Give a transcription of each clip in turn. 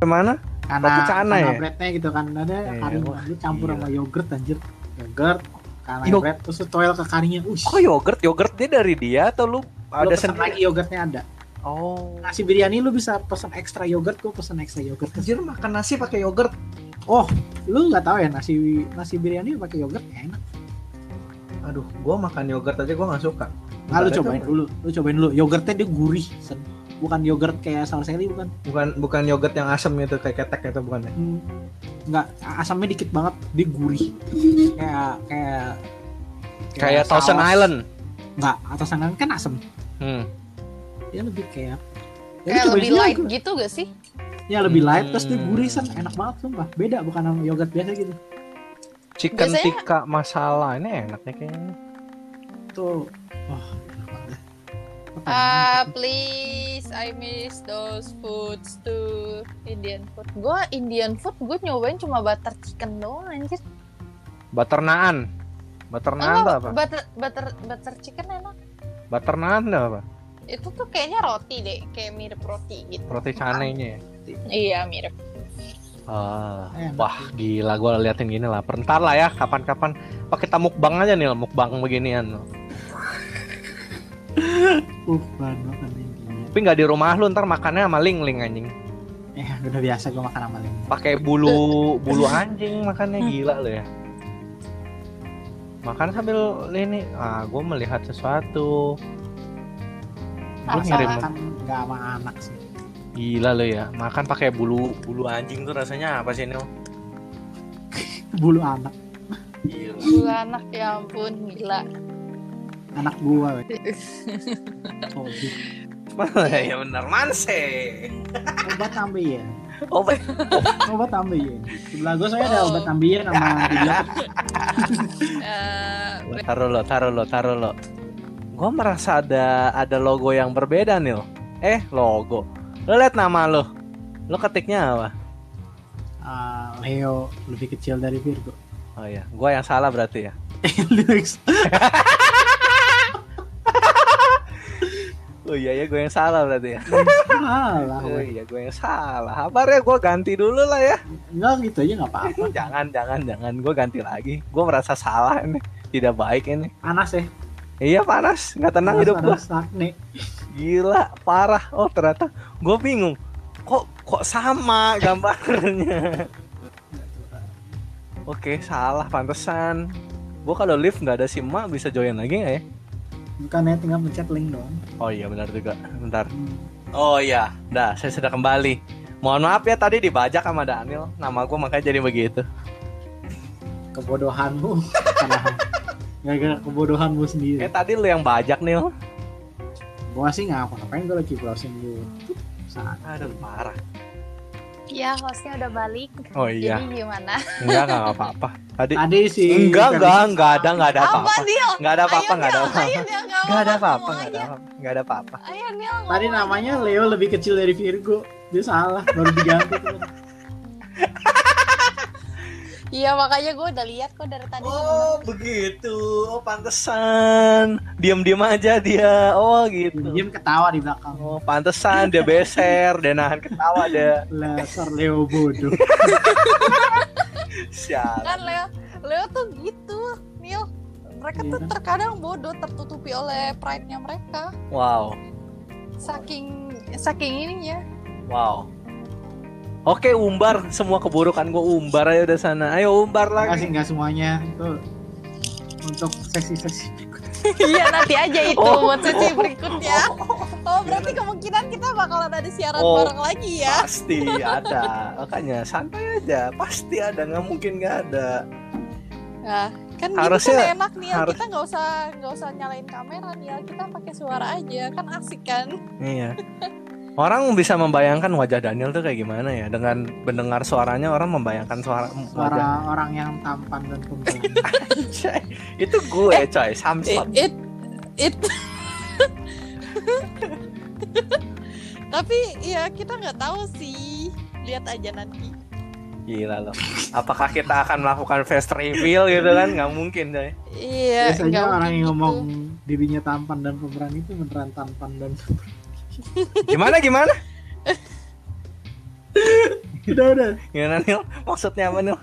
Kemana? karena pecah karena aneh ya? breadnya gitu kan ada Iya, kari wah, lu campur gila. sama yogurt anjir yogurt karena Yo- bread terus lu toel ke karinya ush Kok yogurt? Yogurt dia dari dia atau lu lu ada pesen sendiri? lagi yogurtnya ada Oh. nasi biryani lu bisa pesen ekstra yogurt gua pesen ekstra yogurt Anjir makan nasi pakai yogurt. oh lu nggak tahu ya nasi nasi biryani pakai yogurt ya enak Aduh, gua makan yogurt aja gua nggak suka. nah, lu Ada cobain tuh, dulu lu cobain dulu yogurtnya dia gurih sen. bukan yogurt kayak Sarselli bukan Bukan bukan yogurt yang asem itu kayak ketek itu bukan ya? Hmm, nggak asamnya dikit banget dia gurih kayak kayak Kayak saus. Thousand Island. nggak atas angin kan asam Hmm. dia lebih kayak Ya, lu cobain Kayak lebih dulu, light gua- gitu gak sih? Ya lebih light terus dia Hmm. gurih sen enak banget sumpah. Beda bukan sama yogurt biasa gitu. Chicken Biasanya- tikka masala ini enaknya kayaknya. Tuh. Wah, enak banget. dah. Ah, please, I miss those foods too. Indian food. Gue Indian food, gue nyobain cuma butter chicken doang anjir. Baternaan. Baternaan tuh Enggak, apa? butter, butter, butter chicken enak. Baternaan tuh apa? Itu tuh kayaknya roti deh, kayak mirip roti gitu. Roti canainya ya. Iya, mirip. Ah, Enak. wah gila gue liatin gini lah. Ntar lah ya kapan-kapan pakai kita mukbang aja nih mukbang beginian. Uh, bahan makan ini. Tapi nggak di rumah lu ntar makannya sama ling-ling anjing. Eh, udah biasa gue makan sama lemon. Pakai bulu bulu anjing makannya gila lu ya. Makan sambil ini, ah gue melihat sesuatu. Lu Apa? ngirim Makan nggak sama anak sih. gila lu ya. Makan pakai bulu bulu anjing tuh rasanya apa sih Nil? Bulu anak, Gila. Gila anak ya ampun, gila. anak gua. weh. Oh, gitu. ya benar manse. obat ambeien. Oh, Obat ambeien. Sebelah gua saya ada Oh. obat ambeien sama dibilang Eh, Taruh lo, taruh lo, taruh lo. Gua merasa ada ada logo yang berbeda Nil. Eh, logo. Lo liat nama lo. Lo ketiknya apa? ah, Leo lebih kecil dari Virgo. Oh iya, gua yang salah berarti ya. Lyrics. Oh iya ya, gua yang salah berarti ya. Salah. Oh weh. iya, gua yang salah. Kabarnya gua ganti dulu lah ya. Enggak gitu aja nggak apa-apa. Oh, Jangan, jangan, jangan. Gua ganti lagi. Gua merasa salah ini. Tidak baik ini. Panas ya. Iya panas, nggak tenang Panas, hidup gua. panas, Sakne. Gila, parah. Oh ternyata gua bingung. Kok kok sama gambarnya? Oke, salah pantesan. Gua kalau live nggak ada si emak bisa join lagi nggak ya? Bukan ya tinggal pencet link doang. Oh iya benar juga. Bentar. Hmm. Oh iya, dah saya sudah kembali. Mohon maaf ya tadi dibajak sama Daniel. Nama gua makanya jadi begitu. Kebodohanmu. Padahal. Gara-gara kebodohanmu sendiri. Eh tadi lu yang bajak Nil. Gua sih nggak apa-apain gua lagi browsing dulu. Saat Aduh parah. ya hostnya udah balik. Oh iya, Jadi gimana? enggak enggak apa-apa. Tadi tadi sih. enggak enggak enggak ada enggak ada Apa, apa-apa. Dil? Enggak ada apa-apa, enggak ada apa-apa. Ayo, Dil, nggak Enggak ada apa-apa, enggak ngomong ada aja. apa-apa. Enggak ada apa-apa. Ayo, Dil, ngomong Tadi namanya Leo lebih kecil dari Virgo. Dia salah. Baru diganti. tuh. Iya makanya gue udah lihat kok dari tadi. Oh begitu, oh pantesan. Diam-diam aja dia. Oh gitu. Diam ketawa di belakang. Oh pantesan dia beser, dia nahan ketawa dia. Laser Leo bodoh. Sial. kan Leo, Leo tuh gitu, Neil. Mereka Iya tuh kan? terkadang bodoh tertutupi oleh pride-nya mereka. Wow, Saking saking ininya. wow. Oke umbar semua keburukan gue umbar aja udah sana. Ayo umbar Enggak lagi. sih enggak semuanya. Tuh. Untuk sesi-sesi berikutnya. Iya nanti aja itu Oh. buat sesi berikutnya. Oh berarti kemungkinan kita bakalan ada siaran Oh. bareng lagi ya. Pasti ada. Makanya santai aja. Pasti ada, nggak mungkin nggak ada. Nah, kan gitu Harusnya- kan enak nih harus- kita nggak usah nggak usah nyalain kamera nih kita pakai suara aja kan asik kan Iya. Orang bisa membayangkan wajah Daniel tuh kayak gimana ya dengan mendengar suaranya orang membayangkan suara wajah Suara orang yang tampan dan pemberani. Coy, itu gue coy Samson it it, it- tapi ya kita nggak tahu sih lihat aja nanti gila loh apakah kita akan melakukan face reveal gitu kan nggak mungkin coy iya Biasanya nggak orang mungkin yang gitu. ngomong dirinya tampan dan pemberani itu beneran tampan dan gimana gimana udah udah Gimana Nil? Maksudnya apa Nil?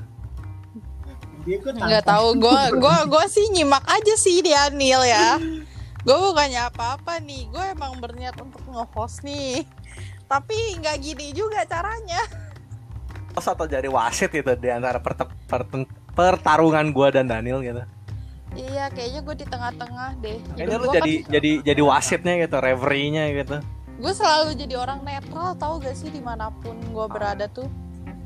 dia kan Nggak tahu, gue gua gua sih nyimak aja sih dia Anil ya. Gue bukannya apa-apa nih, gue emang berniat untuk nge-host nih. Tapi nggak gini juga caranya. Terus atau jadi wasit gitu di antara perte- perten- pertarungan gua dan Daniel gitu. Iya, kayaknya gue di tengah-tengah deh. Kayaknya lu jadi jadi jadi wasitnya gitu, referee-nya gitu. gue selalu jadi orang netral, tahu gak sih dimanapun gue berada tuh.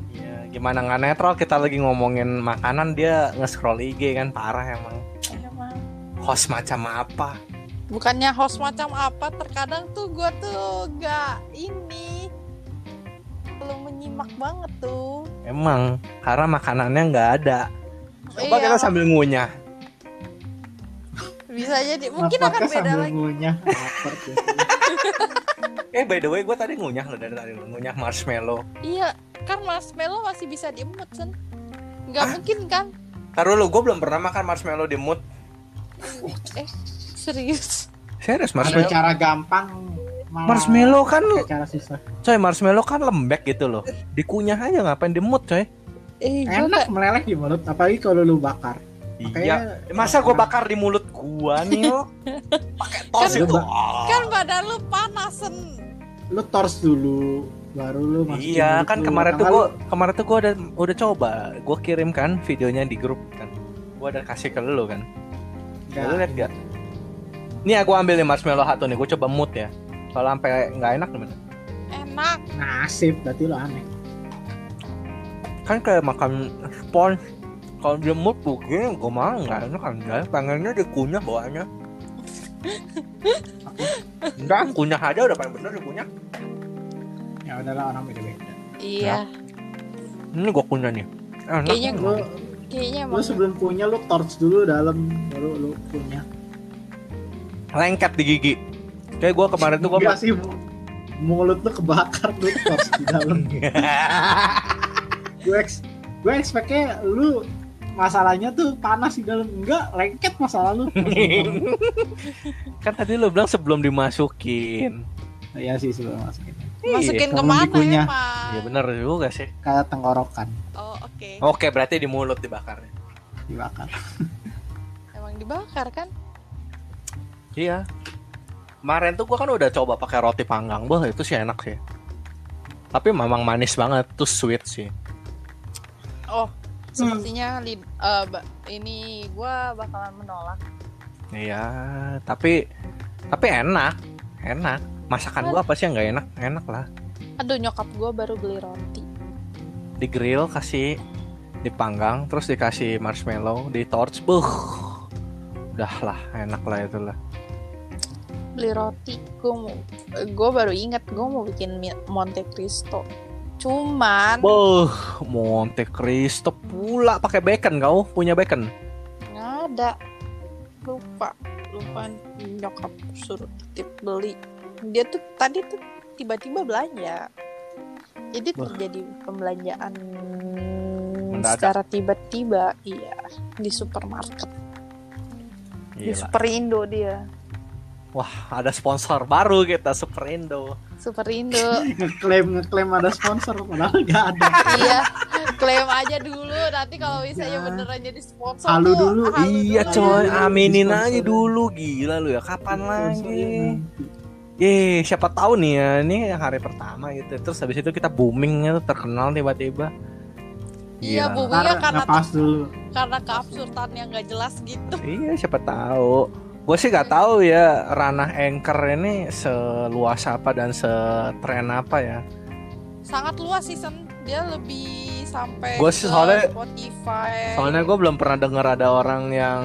Iya, gimana nggak netral kita lagi ngomongin makanan dia nge-scroll IG kan parah emang. Emang. Host macam apa? Bukannya host macam apa, terkadang tuh gue tuh nggak ini. Lu menyimak banget tuh. Emang karena makanannya nggak ada. Coba Iya, kita sambil ngunyah. bisa jadi mungkin akan beda lagi. ngunyah Eh by the way gue tadi ngunyah loh dari tadi loh, ngunyah marshmallow. Iya, kan marshmallow masih bisa diemut, Sen. Nggak mungkin kan? Taruh lu gue belum pernah makan marshmallow di mood. Serius. Serius ada marshmallow? cara gampang malah Marshmallow kan ada cara susah coy marshmallow kan lembek gitu loh. Dikunyah aja ngapain di mood coy? Eh, enak gua nggak- meleleh di mulut apalagi kalau lu bakar Iya. Makanya Masa gue bakar di mulut gua nih Pakai tos Kan- itu. Kan badan lu panas, Sen. lu tors dulu baru lu masukin Iya mulut kan lu. kemarin tuh Karena gua lu- kemarin tuh gua udah udah coba gua kirim kan videonya di grup kan gua udah kasih ke lu kan nggak- lu lihat gak ini aku ambil nih marshmallow satu nih gua coba mood ya kalau sampai nggak enak gimana Enak. nasib berarti lu aneh kan kayak makan sponge kalau dia mood begini gua mah nggak enak kan guys pengennya dikunyah bawaannya Enggak, kunyah aja udah paling bener dikunyah ya udahlah orang beda beda Iya, Ini gua kunyah nih Enak. Kayaknya lu kayaknya lu emang. sebelum punya lu torch dulu dalam baru lu punya lengket di gigi Kayak gua kemarin tuh gua Nggak sih mu- mulut lu kebakar lu torch di dalam gue ex gue expectnya lu masalahnya tuh panas di dalam enggak lengket masalah lu kan tadi lo bilang sebelum dimasukin ya sih sebelum masukin Masukin Iya, kemana kalau dikunyah. emang? iya bener juga sih kayak tenggorokan Oh, oke. oke berarti di mulut dibakarnya dibakar Emang dibakar kan? iya kemarin tuh gua kan udah coba pakai roti panggang bah itu sih enak sih tapi memang manis banget tuh sweet sih Oh, sepertinya lid- eh, ba- ini gua bakalan menolak. iya tapi tapi enak enak masakan gua apa sih yang nggak enak enak lah Aduh, nyokap gua baru beli roti. di grill kasih dipanggang terus dikasih marshmallow di torch buh udah lah enak lah itulah Beli roti, gua mau eh, gua baru ingat gua mau bikin mi- Monte Cristo. Cuman Boh, Monte Cristo pula pakai bacon kau punya bacon. nggak ada. Lupa, lupa nyokap suruh titip beli. Dia tuh tadi tuh tiba-tiba belanja. Jadi Wah. terjadi pembelanjaan Mendadak. secara tiba-tiba, iya di supermarket. Di Superindo dia. Wah, ada sponsor baru kita Superindo. Superindo. ngeklaim ngeklaim ada sponsor padahal nggak ada iya. Klaim aja dulu nanti kalau misalnya Ya. beneran jadi sponsor Halu tuh, dulu. halu iya dulu. coy, Iya, aminin di-sponsorin. aja dulu gila lu ya. Kapan Sponsornya lagi? nanti. Eh, siapa tahu nih ya, ini hari pertama gitu. Terus habis itu kita booming gitu, terkenal tiba-tiba. Iya, Gila. bumbunya Nah, Ntar karena ngepas dulu karena keabsurdan yang gak jelas gitu. Iya, siapa tahu. Gue sih gak tahu ya ranah anchor ini seluas apa dan setren apa ya. Sangat luas sih Sen. Dia lebih sampai Gua sih ke soalnya- Spotify. Soalnya gue belum pernah denger ada orang yang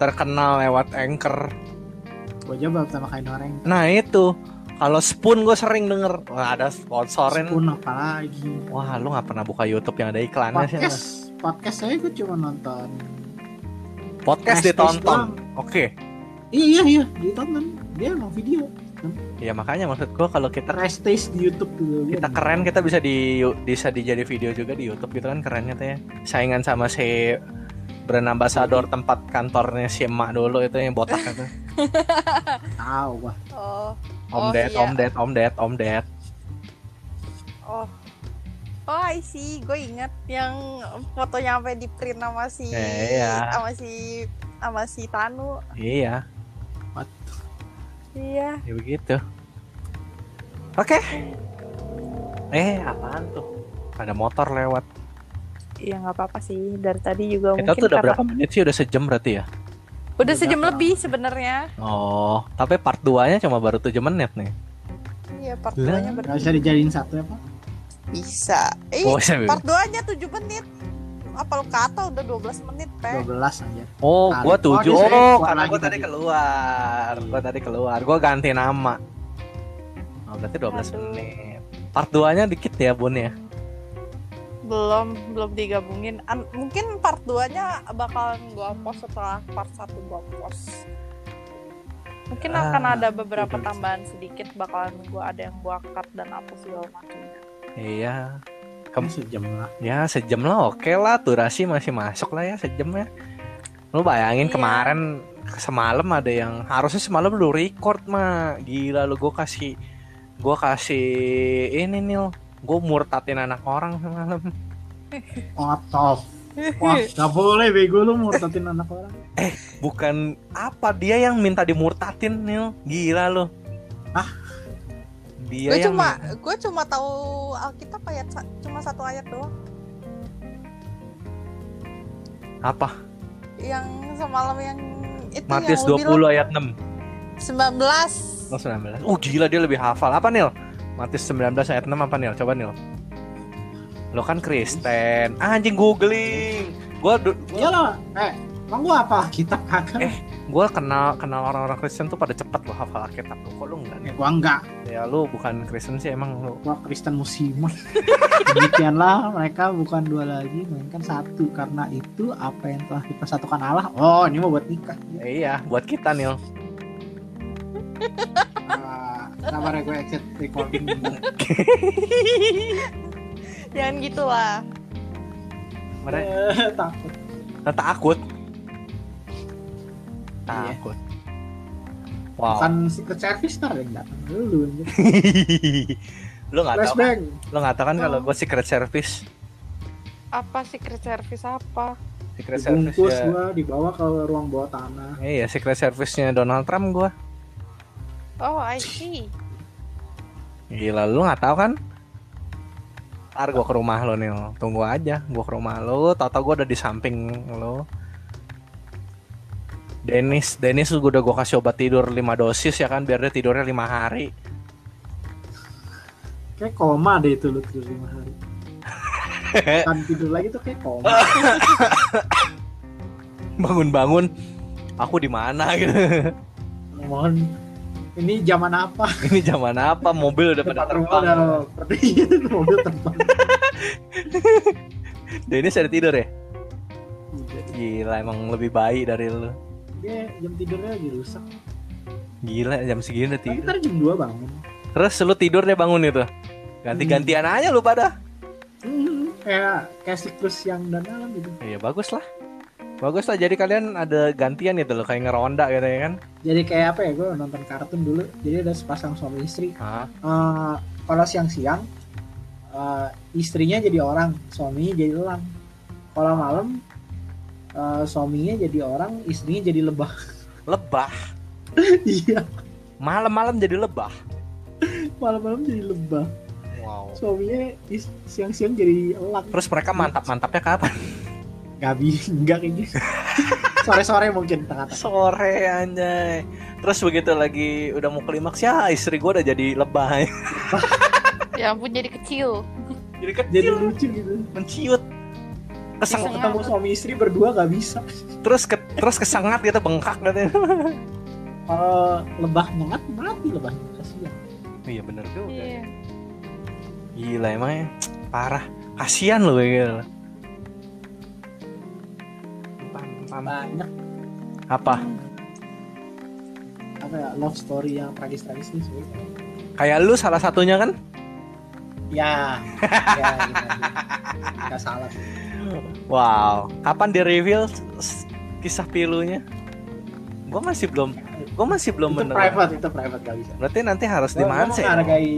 terkenal lewat anchor. gue aja baru pertama kali noreng Nah itu, kalau Spoon gue sering denger. Wah ada sponsorin. pun apa lagi Wah lu nggak pernah buka YouTube yang ada iklannya sih. podcast podcast saya gue cuma nonton Podcast Prestige doang. ditonton. Oke. iya iya iya ditonton dia emang video Ya makanya maksud gue kalau kita restage di YouTube dulu kita Hmm. keren kita bisa di bisa dijadi video juga di YouTube gitu kan kerennya tuh ya. Saingan sama si brand ambassador tempat kantornya si emak dulu itu yang botak itu. tahu gua Oh, Om Oh, Ded, iya. Om Ded, Om Ded, Om Ded. oh. Oh, I see. Gue inget yang fotonya sampai di print sama si Eh, iya. sama si sama si Tanu. Iya, Iya. ya begitu. Oke. Eh, apaan tuh? Ada motor lewat. Iya nggak apa-apa sih. Dari tadi juga Kita mungkin tuh udah karena- berapa menit sih? Udah sejam berarti ya? Udah sejam lebih sebenarnya. Oh, tapi part 2-nya cuma baru 7 menit nih. Iya, part Lah, 2-nya Gak bisa dijadiin satu ya pak Bisa. Eh, Oh, saya part 2-nya 7 menit. Apal kata udah 12 menit, Pe. 12 aja Oh, Nah, Kali. gua tujuh. Oh, dia Oh, save. karena Lagi gua tadi tadi. keluar. Gua tadi keluar. Gua ganti nama. Oh, berarti 12 Aduh. menit. Part 2-nya dikit ya, Bun ya. Belum belum digabungin. An- mungkin part 2-nya bakalan gua post setelah part 1 gua post. Mungkin Ah, akan ada beberapa betul. tambahan sedikit bakalan gua ada yang gua cut dan apa segala macam. Iya. Kamu Kamu sejam lah ya sejam lah oke lah durasi masih masuk lah ya sejam ya. Lu bayangin Iya. kemarin semalam ada yang harusnya semalam lu record mah. Gila lu gua kasih gua kasih ini Nil. Gua murtatin anak orang semalam. Otof Wah gak boleh bego lu murtatin anak orang Bukan apa dia yang minta dimurtatin Nil. Gila lu. Hah? Dia Ya, Gue yang cuma gue cuma tahu Alkitab ayat sa- cuma satu ayat doang apa? yang semalam yang itu Matius yang lu 20 bilang ayat 6. 19 Oh, 19. Oh, gila dia lebih hafal. Apa Nil? Matius 19 ayat 6 apa Nil? Coba Nil. Lo kan Kristen. Anjing googling. Gua du- Iya gua, loh Eh Emang gua apa? Kitab Eh. kagak? gua kenal kenal orang-orang Kristen tuh pada cepet lo hafal Alkitab. Lo Kok lo enggak Eh, nih? gua enggak Ya lu bukan Kristen sih emang lu. Wah Kristen musiman Demikianlah mereka bukan dua lagi Melainkan satu Karena itu apa yang telah dipersatukan Allah Oh ini mau buat nikah Eh, iya, buat kita Nil. Ah, Sabar ya gue exit recording jangan gitulah Mereka Eh, Takut takut. Iya. Takut. Wow. Bukan secret service ntar yang datang Lu lu lu nggak tahu kan? Flashbang Lu nggak tahu kan kalau Oh. gua secret service. apa secret service apa Secret service dibungkus ya. gua dibawa ke ruang bawah tanah Iya, secret service-nya Donald Trump gua. oh I see Gila, lu nggak tahu kan? Ntar gua ke rumah lo nih, tunggu aja. Gua ke rumah lo, tau-tau gua udah di samping lo. Dennis, Dennis gua udah gua kasih obat tidur 5 dosis ya kan, biar dia tidurnya 5 hari. kayak koma deh itu lu tidur lima hari kan tidur lagi tuh kayak koma Bangun-bangun, aku di mana gitu. mohon ini zaman apa Ini zaman apa? Mobil udah pada Depan rumah terbang. udah pergi mobil terbang Dennis ada tidur ya? Gila, emang lebih baik dari lu. dia jam tidurnya lagi rusak Gila, jam segini udah tapi tidur. ntar jam 2 bangun Terus lu tidur deh bangun itu. Ganti-gantian aja lu pada. Hmm, kayak kayak siklus yang dan malam gitu Iya bagus lah. Bagus lah jadi kalian ada gantian gitu loh kayak ngeronda gitu ya kan. jadi kayak apa ya gue nonton kartun dulu jadi ada sepasang suami istri Hah? Eh, kalau siang-siang eh, istrinya jadi orang suaminya jadi elang kalau malam eh, suaminya jadi orang istrinya jadi lebah Lebah. iya Malam-malam jadi lebah. malam-malam jadi lebah Wow. suaminya is- siang-siang jadi elang Terus mereka mantap-mantapnya kapan? nggak bisa nggak kayak gitu sore-sore mungkin tengah-tengah Sore anjay. Terus begitu lagi udah mau klimaks ya istri gua udah jadi lebah. ya ampun jadi kecil jadi kecil jadi lucu gitu menciut. Bisa Keseng, nggak? ketemu suami istri berdua nggak bisa terus ke, terus kesengat gitu bengkak gitu. kalau lebah nyengat mati lebahnya kasihan Iya bener juga. iya Gila emangnya parah. Kasian gitu. loh gila. Pam, pam. banyak Apa? apa ya love story yang tragis-tragis ini sebenarnya Kayak lu salah satunya kan? ya ya gitu, gitu. nggak salah sih. Wow. Kapan di reveal s- kisah pilunya? Gue masih belum, gue masih belum itu mendengar. private itu private nggak bisa Berarti nanti harus Gua- gua dimansai. dong. menghargai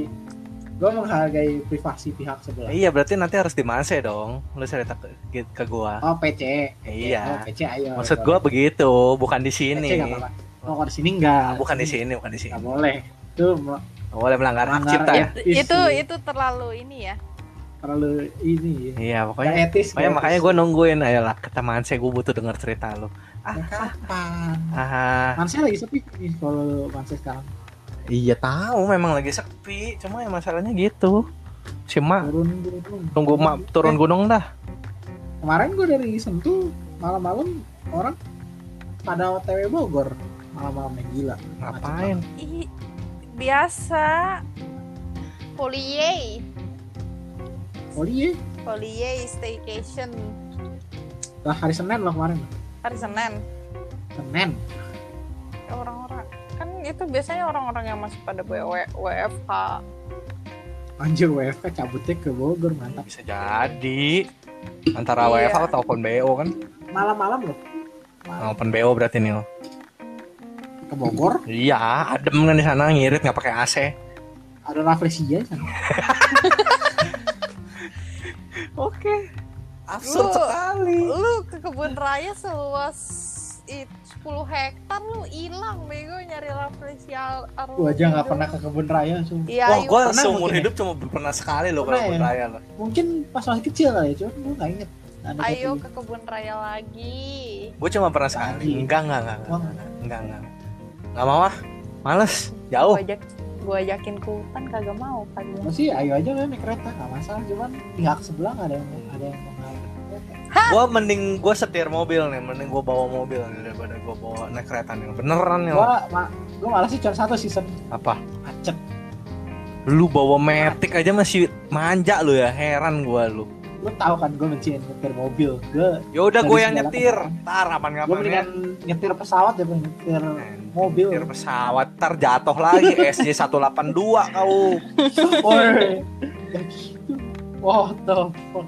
gue menghargai privasi pihak sebelah Iya berarti nanti harus dimase dong. Lu cerita ke, ke- ke gua. oh PC oh, Iya. PC ayo Maksud gua begitu, bukan di PC sini. nggak apa-apa oh kalau di sini nggak Ah, Bukan di sini, bukan di sini. nggak boleh itu mel- Nggak Boleh melanggar iya. hak melanggar cipta. ya? etis sih. itu itu terlalu ini ya terlalu ini ya. Iya, pokoknya Nggak etis Makanya, nggak makanya etis. gue nungguin ayolah ketemaan saya gue butuh denger cerita lu. Ya, kapan Ah, Mansa lagi sepi nih kalau Mansa sekarang iya tahu memang lagi sepi, cuma ya masalahnya gitu. Si Mak turun turun tunggu Mak turun gunung dah. kemarin gue dari Sentul malam-malam orang pada OTW Bogor malam-malamnya gila Ngapain? Ih, biasa Poliye, oh iya poliye staycation lah hari Senin loh kemarin hari Senin. Senin Orang-orang kan itu biasanya orang-orang yang masih pada W- WFH. anjir WFK cabutnya ke Bogor mantap Bisa jadi antara Iya. WFH atau open BO kan? malam-malam loh Nah, open BO berarti nih. ke Bogor Iya, adem kan di sana ngirit nggak pakai AC. ada Rafflesia di sana Oke. Absurd sekali. lu ke kebun raya seluas it, 10 hektar lu hilang bego nyari referensial gue aja nggak pernah ke kebun raya sumpah. Iya, Wah, yuk. gue pernah seumur mungkin ya? hidup cuma pernah sekali loh kalau Pernah open ya? raya loh. mungkin pas masih kecil kali ya cuman gue nggak inget ada kayak ayo gitu. ke kebun raya lagi. Gue cuma pernah sekali. Lagi. Enggak, enggak, enggak. Wah. Enggak, enggak. Enggak mau ah. Males, jauh. Gua ajak gua ajakin ke hutan kagak mau kali. ya. masih ayo aja kan naik kereta nggak masalah cuman pihak sebelah nggak ada yang ada yang mau naik kereta. gue mending gue setir mobil nih mending gue bawa mobil nih daripada gue bawa naik kereta nih beneran nih gua ma- gua malah sih cuma satu season apa macet lu bawa metik aja masih manja lu ya heran gue lu lu tahu kan gue benci nyetir mobil gue ya udah gue Dari yang segala nyetir kendaraan. tar aman gue kapan ya mendingan nyetir pesawat daripada nyetir mobil. nyetir pesawat tar jatuh lagi SJ 182 kau Woi, ya gitu What the fuck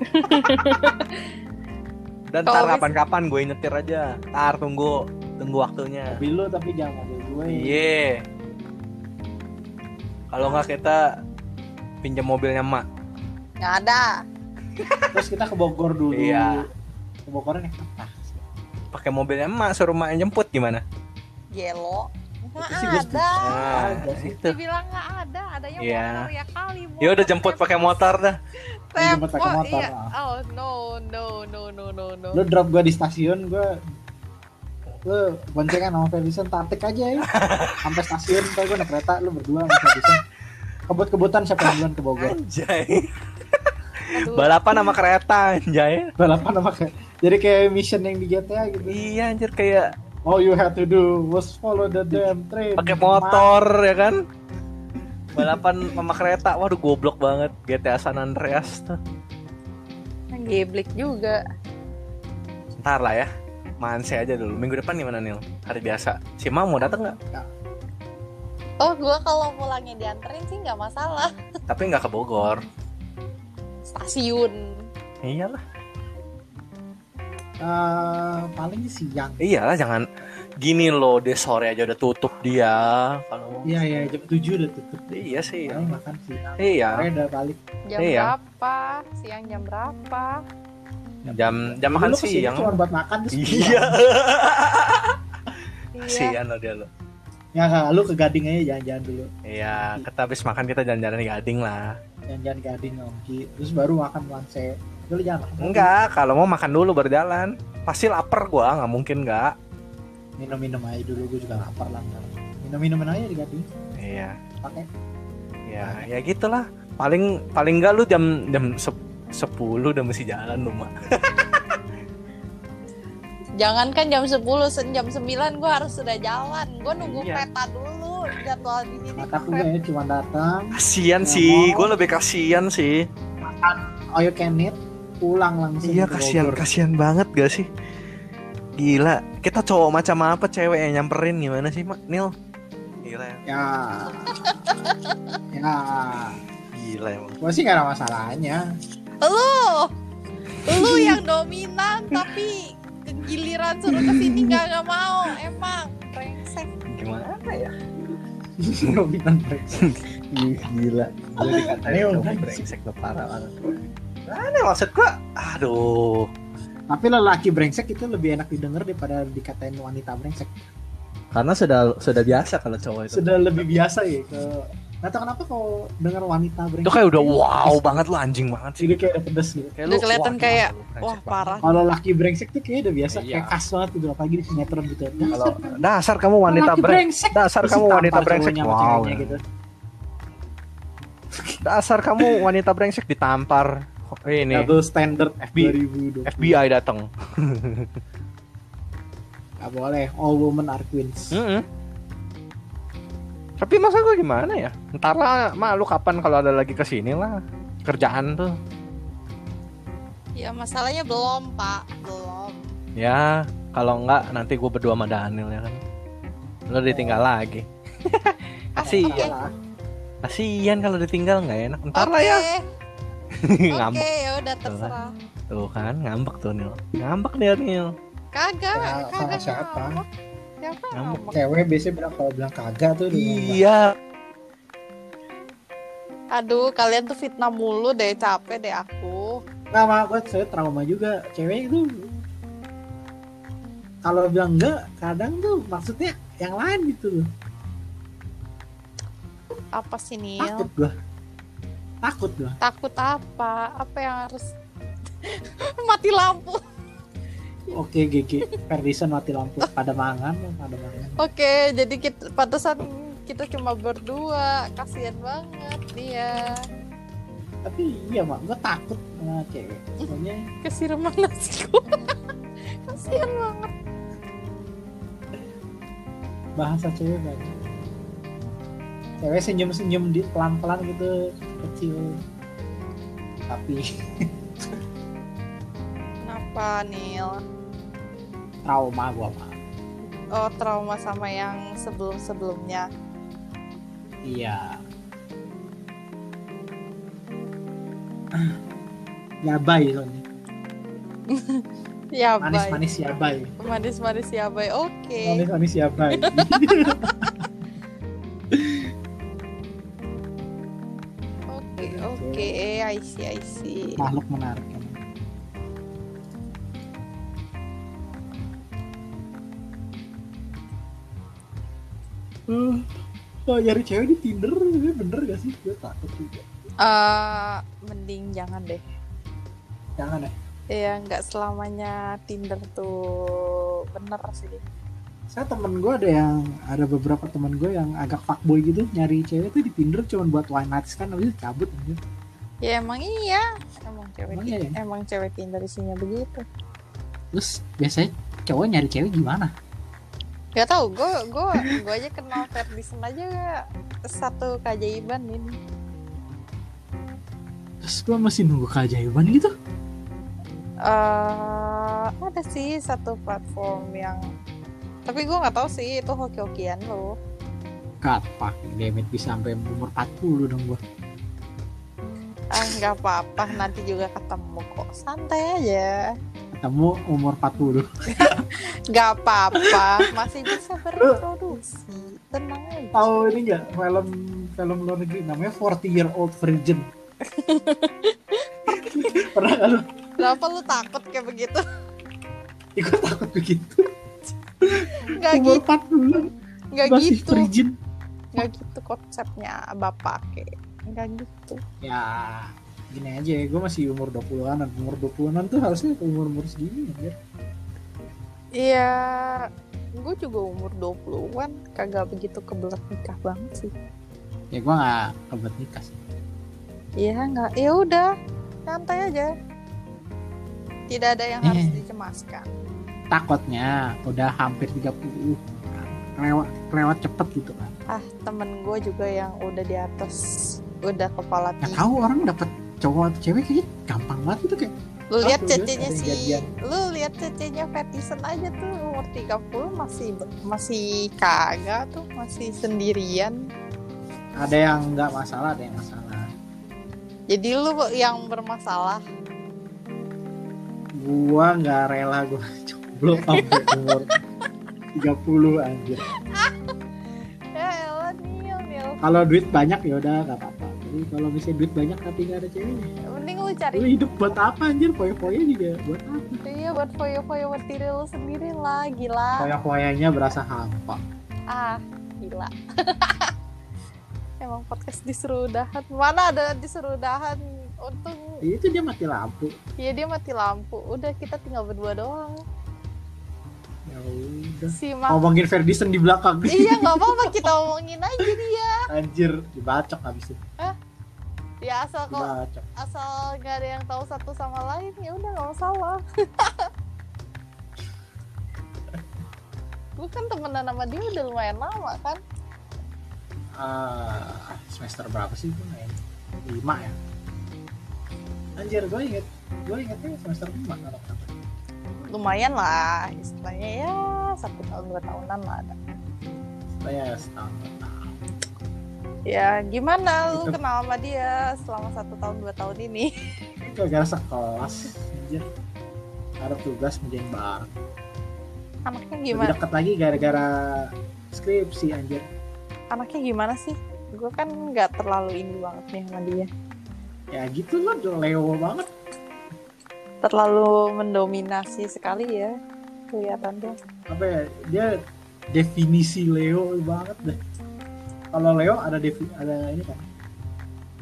dan Kalau tar bisa- kapan-kapan gue nyetir aja tar tunggu tunggu waktunya Mobil lu tapi jangan ya. mobil gue Iya. kalau nggak kita pinjam mobilnya mak Nggak ada. Terus kita ke Bogor dulu Iya. Ke Bogornya naik apa? pakai mobilnya mak suruh mak yang jemput gimana Gelo. Itu sih gua Nggak ada. nah, ada sih. itu Dibilang nggak ada, adanya Iya. motor ya kali. Ya udah jemput pakai motor dah. Jemput pakai Tepo, motor, iya. ah. Oh no no no no no no. Lu drop gue di stasiun gue lu boncengan sama Felician tatik aja ya sampai stasiun ntar gue naik kereta lu berdua sama Felician kebut-kebutan siapa yang duluan ke Bogor Anjay. Aduh. Balapan sama kereta anjay. balapan sama kayak jadi kayak mission yang di GTA gitu Iya anjir kayak all you had to do was follow the damn train pakai motor ya kan. Balapan sama kereta. Waduh goblok banget GTA San Andreas tuh. Geblek juga. Ntar lah ya. Manse aja dulu. Minggu depan gimana Nil? Hari biasa. Si Mam mau datang nggak? Oh, gua kalau pulangnya dianterin sih nggak masalah. Tapi nggak ke Bogor. Iya, Stasiun. Iyalah. Eh, paling siang Iyalah jangan gini loh dia sore aja udah tutup dia kalau Iya iya jam 7 udah tutup. iya sih Paling makan siang. iya Sore udah balik. Jam Iya. berapa? Siang jam berapa? jam jam makan Dulu kesini Cuma siang buat makan terus. iya Iya. siang loh dia lo pulang. Ya enggak, lu ke Gading aja jalan-jalan dulu. Iya, kita habis makan kita jalan-jalan di Gading lah. Jalan-jalan Gading Nongki. Terus baru makan Lanse. Dulu jangan makan. Enggak, kalau mau makan dulu baru jalan. Pasti lapar gua, nggak mungkin nggak. Minum-minum aja dulu gue juga lapar lah. ntar. Minum-minum aja di Gading. Iya, Pakai ya, ya gitulah. Paling paling enggak lu jam jam sep- 10 udah mesti jalan lu mah. Jangankan jam 10, sen- jam 9 gue harus sudah jalan. Gue nunggu Iya. peta dulu jadwal di sini. kan. mata gue ya cuma datang, Kasian Nggak sih, mau. gua lebih kasian sih. oh you can eat, pulang langsung. Iya, ke kasian Bogor. kasian banget gak sih? Gila, kita cowok macam apa cewek yang nyamperin gimana sih, Mak? Nil. Gila ya. Ya. ya. Gila emang. Gue sih gak ada masalahnya. Lu, lu yang dominan tapi giliran suruh kesini nggak nggak mau. Emang brengsek. Gimana ya? Dominan brengsek. Ih, gila. Lu dikatain Neo, cowok brengsek lu parah banget. Aneh maksud gua, aduh. Tapi lelaki brengsek itu lebih enak didengar daripada dikatain wanita brengsek. Karena sudah sudah biasa kalau cowok itu. Sudah lebih biasa ya ke Nggak tahu kenapa kalau dengar wanita brengsek. Itu kayak udah wow banget lu anjing banget sih. Jadi kayak udah pedes gitu. Kayak Udah kelihatan wah, gila, kayak, lu brengsek Wah banget. parah. Kalau laki brengsek tuh kayaknya udah biasa Iya. kayak khas banget gitu apalagi di sinetron gitu. Kalau dasar kamu wanita Laki brengsek, brengsek. dasar Terus kamu ditampar wanita brengsek. cowoknya sama Wow. ceweknya gitu. Dasar kamu wanita brengsek ditampar. Ini Double standard FBI. 2020. FBI datang. Gak boleh. All women are queens. Mm-mm. Tapi masa gue gimana ya? Ntar lah, ma lu kapan kalau ada lagi kesini lah kerjaan tuh. Ya masalahnya belum pak, belum. Ya, kalau enggak nanti gue berdua sama Daniel ya kan. Lo ditinggal lagi. Kasih, Oke. Salah. kasihan kalau ditinggal nggak enak. Ntar lah ya. ngambek Oke, ya udah terserah. tuh kan, ngambek tuh Nil. Ngambek dia Nil. Kagak, Ya, sama kagak siapa? ngambek. Siapa Ngambek. ngambek? Cewek biasanya bilang kalau bilang kagak tuh dia ngomong, Iya. Aduh, kalian tuh fitnah mulu deh, capek deh aku. Nggak mah gue saya trauma juga cewek itu kalau bilang enggak kadang tuh maksudnya yang lain gitu loh Apa sih Nil? takut gua takut gua Takut apa? Apa yang harus mati lampu? oke Gigi Ferdison mati lampu pada mangan pada mangan Oke, jadi kita pantesan kita cuma berdua. Kasihan banget dia. tapi iya mak gua takut sama cewek soalnya Kasih rumah nasiku. Kasihan banget. bahasa cewek banyak cewek senyum senyum di pelan pelan gitu kecil tapi Kenapa Nil? trauma gua mah Oh, trauma sama yang sebelum-sebelumnya. iya yabai soalnya Ya, manis baik. manis ya bay Manis-manis ya, baik. Oke. manis manis ya bay Oke, oke. I see, I see. makhluk menarik emang. Eh, Hmm. kalau nyari cewek di Tinder sebenarnya bener gak sih? Gue takut juga. Eh, mending jangan deh. Jangan ya. Ya, nggak selamanya Tinder tuh bener sih. Saya temen gue ada yang ada beberapa temen gue yang agak fuckboy gitu nyari cewek tuh di Tinder cuma buat one night stand habis itu cabut aja. Ya emang iya. Emang cewek Emang ti- iya ya? emang cewek Tinder isinya begitu. Terus biasanya cowok nyari cewek gimana? Gak tau, gue gue gue aja kenal Ferdison aja satu keajaiban ini. Terus gue masih nunggu keajaiban gitu. eh ada sih satu platform yang tapi gue nggak tahu sih itu hoki-hokian lo. Kapak, damn it, bisa sampai umur 40 dong gue. Ah nggak apa-apa nanti juga ketemu kok santai aja. Ketemu umur 40. Gak apa-apa masih bisa berproduksi tenang aja. tahu ini nggak film film luar negeri namanya 40 Year Old Virgin pernah nggak lu Kenapa lu takut kayak begitu? ikut takut begitu Gak umur gitu, 40 gak masih gitu. virgin nggak gitu konsepnya bapak kayak nggak gitu ya gini aja gue masih umur 20-an -an. umur 20-an -an tuh harusnya umur umur segini anjir. iya gue juga umur 20-an kagak begitu kebelet nikah banget sih ya gue nggak kebelet nikah sih iya nggak ya udah santai aja tidak ada yang harus Eh. dicemaskan takutnya udah hampir 30 kan. lewat lewat cepet gitu kan ah temen gue juga yang udah di atas udah kepala nggak tiga tahu orang dapet cowok atau cewek kayaknya gampang banget gitu kayak lu lihat Aku lihat cecenya ada yang si jadian. lu lihat cecenya Patison aja tuh umur 30 masih masih kagak tuh masih sendirian ada yang nggak masalah ada yang masalah jadi lu yang bermasalah gua nggak rela gua coblok sampai umur 30 anjir Ya elah Niel, Niel kalau duit banyak ya udah nggak apa-apa tapi kalau misalnya duit banyak tapi nggak ada ceweknya Mending lu lu cari hidup buat apa anjir poya-poya juga buat apa Iya buat foyo-foyo buat diri lu sendiri lah Gila poya-poyanya berasa hampa Ah gila Emang podcast disuruh dahan Mana ada disuruh dahan Untung itu dia mati lampu ya dia mati lampu Udah kita tinggal berdua doang ya udah Si Mak ngomongin Ferdinand di belakang Iya nggak apa-apa kita omongin aja dia anjir dibacok habis itu Ya asal kok dibacok asal nggak ada yang tahu satu sama lain ya udah nggak masalah gue kan temenan sama dia udah lumayan lama kan Ah, semester berapa sih gue main lima ya anjir gue inget gue ingetnya semester lima kalau nggak salah. lumayan lah istilahnya ya satu tahun dua tahunan lah ada saya Iya, setahun dua tahun. ya gimana lu Itu. kenal sama dia selama satu tahun dua tahun ini gara-gara sekelas anjir ada tugas menjadi bareng anaknya lebih gimana dekat lagi gara-gara skripsi anjir anaknya gimana sih gue kan nggak terlalu ini banget nih sama dia ya gitu loh lewo banget terlalu mendominasi sekali ya kelihatannya apa ya dia definisi Leo banget deh kalau Leo ada defi ada ini kan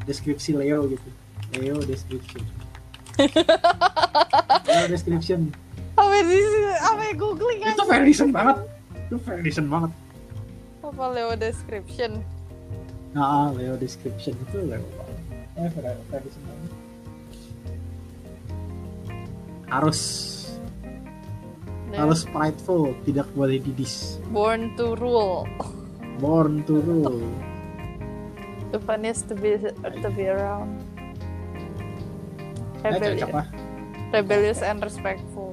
deskripsi Leo gitu Leo description Leo description apa sih apa yang googling itu Ferguson banget itu Ferguson banget apa lewat description nah Leo description itu Leo banget eh Fer- Ferguson banget harus harus prideful tidak boleh didis born to rule. born to rule The funniest to be to be around. eh, cocok Rebellious, lah rebellious and respectful.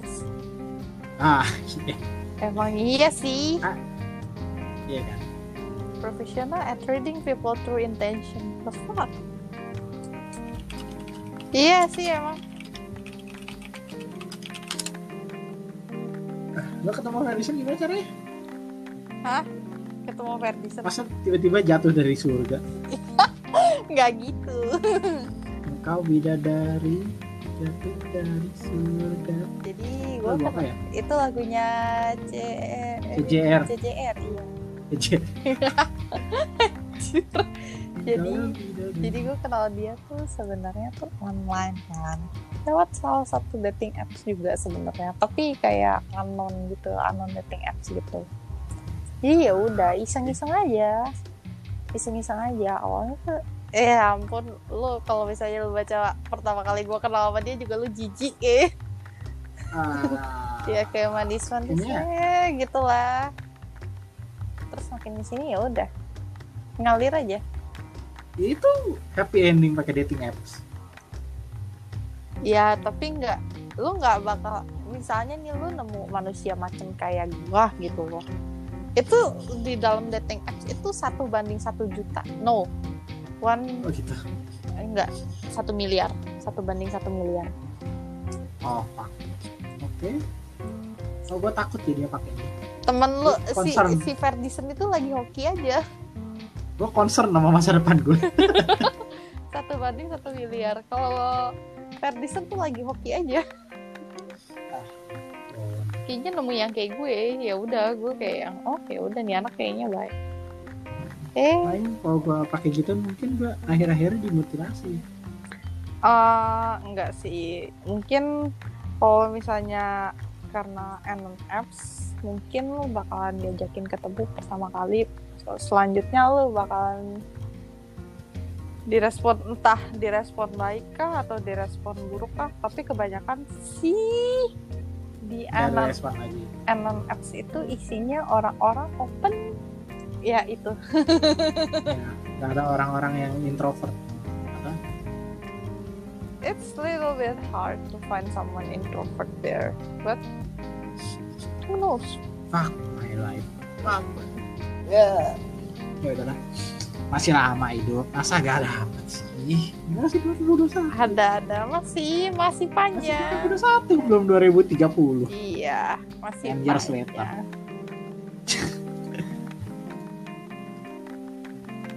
ah Emang iya sih. iya kan Professional at reading people through intention. The fuck? Iya sih emang. lo ketemu Ferguson gimana caranya Ketemu Ferdinand. masa tiba-tiba jatuh dari surga Nggak gitu. engkau bidadari jatuh dari surga Jadi itu gue lagu apa ya itu lagunya C E CJR CJR iya. CJR Jadi Engkau bidadari. jadi gue kenal dia tuh sebenarnya tuh online kan lewat salah satu dating apps juga sebenarnya tapi kayak anon gitu anon dating apps gitu jadi ya udah iseng-iseng aja iseng-iseng aja awalnya tuh eh ampun lu kalau misalnya lu baca pertama kali gue kenal sama dia juga lu jijik eh Ah, ya kayak manis manisnya gitu lah terus makin di sini ya udah ngalir aja itu happy ending pakai dating apps Ya, tapi nggak lu nggak bakal misalnya nih lu nemu manusia macam kayak gua gitu loh. Itu di dalam dating apps itu satu banding satu juta. No. One oh gitu eh, enggak satu miliar. Satu banding satu miliar. oh fuck oke oh gue takut ya dia pakai Temen lu si Concern. si Ferdison itu lagi hoki aja. gue concern sama masa depan gue Satu banding satu miliar. Kalau Ferdison tuh lagi hoki aja. kayaknya nemu yang kayak gue ya udah gue kayak yang oh ya udah nih anak kayaknya baik eh paling kalau gue pakai gitu mungkin gue akhir-akhirnya dimutilasi Ah, enggak sih. Mungkin kalau misalnya karena NM apps, mungkin lu bakalan diajakin ketemu pertama kali. So, selanjutnya lu bakalan direspon entah direspon baik kah atau direspon buruk kah, tapi kebanyakan sih di nggak ada NM respon lagi NM apps itu isinya orang-orang open ya itu nggak ada orang-orang yang introvert apa it's little bit hard to find someone introvert there. But who knows? Fuck my life. Fuck. Ya. Ya udahlah. Masih lama hidup. Masa gak dapat sih? Gimana sih 2021? Ada-ada masih masih panjang. 2021 belum 2030. Iya, masih Ten years later. panjang.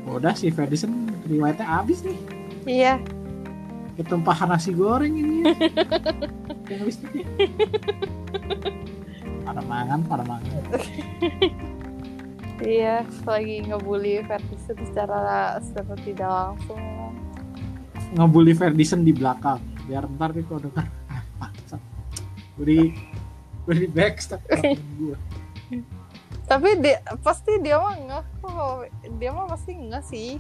Oh, udah si Ferdison riwayatnya habis nih. Iya, Ketumpahan nasi goreng ini. yang habis nih. Pada mangan, pada mangan. iya, lagi ngebully Ferguson secara secara tidak langsung. Ngebully Ferdison di belakang. Biar ntar nih kalau denger. ah, bangsat. Gue di gue di backstab. Gue. Tapi dia pasti dia mah ngeh kok. Dia mah pasti ngeh sih.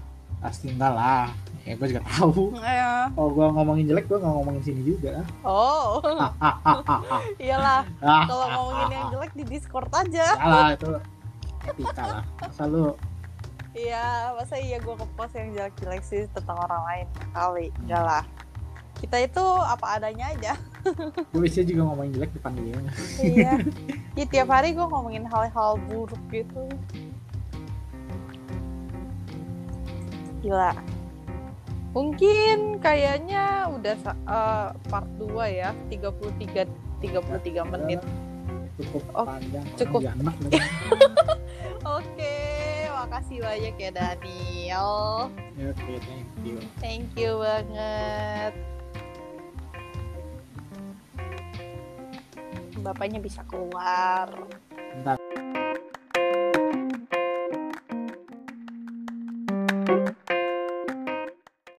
Pasti enggak lah. Ya gue juga tahu. Iya. Kalau gue ngomongin jelek, gue nggak ngomongin sini juga. Oh, Ah, ah, ah, ah, ah. iyalah. Ah, Kalau ah, ngomongin ah, yang ah. jelek di Discord aja. salah itu etika lah masa lu Iya, masa iya gue ngepost yang jelek-jelek sih tentang orang lain kali. Enggak lah. Kita itu apa adanya aja. gue biasanya juga ngomongin jelek depan dia iya. Ya, tiap hari gue ngomongin hal-hal buruk gitu. Gila. Mungkin kayaknya udah sa- eh, part 2 ya, 33 33 menit. cukup Oh, panjang Iya, cukup. Jadi anak lu. Oke, makasih banyak ya Daniel. Ya, oke thank you Thank you banget. Bapaknya bisa keluar. Bentar.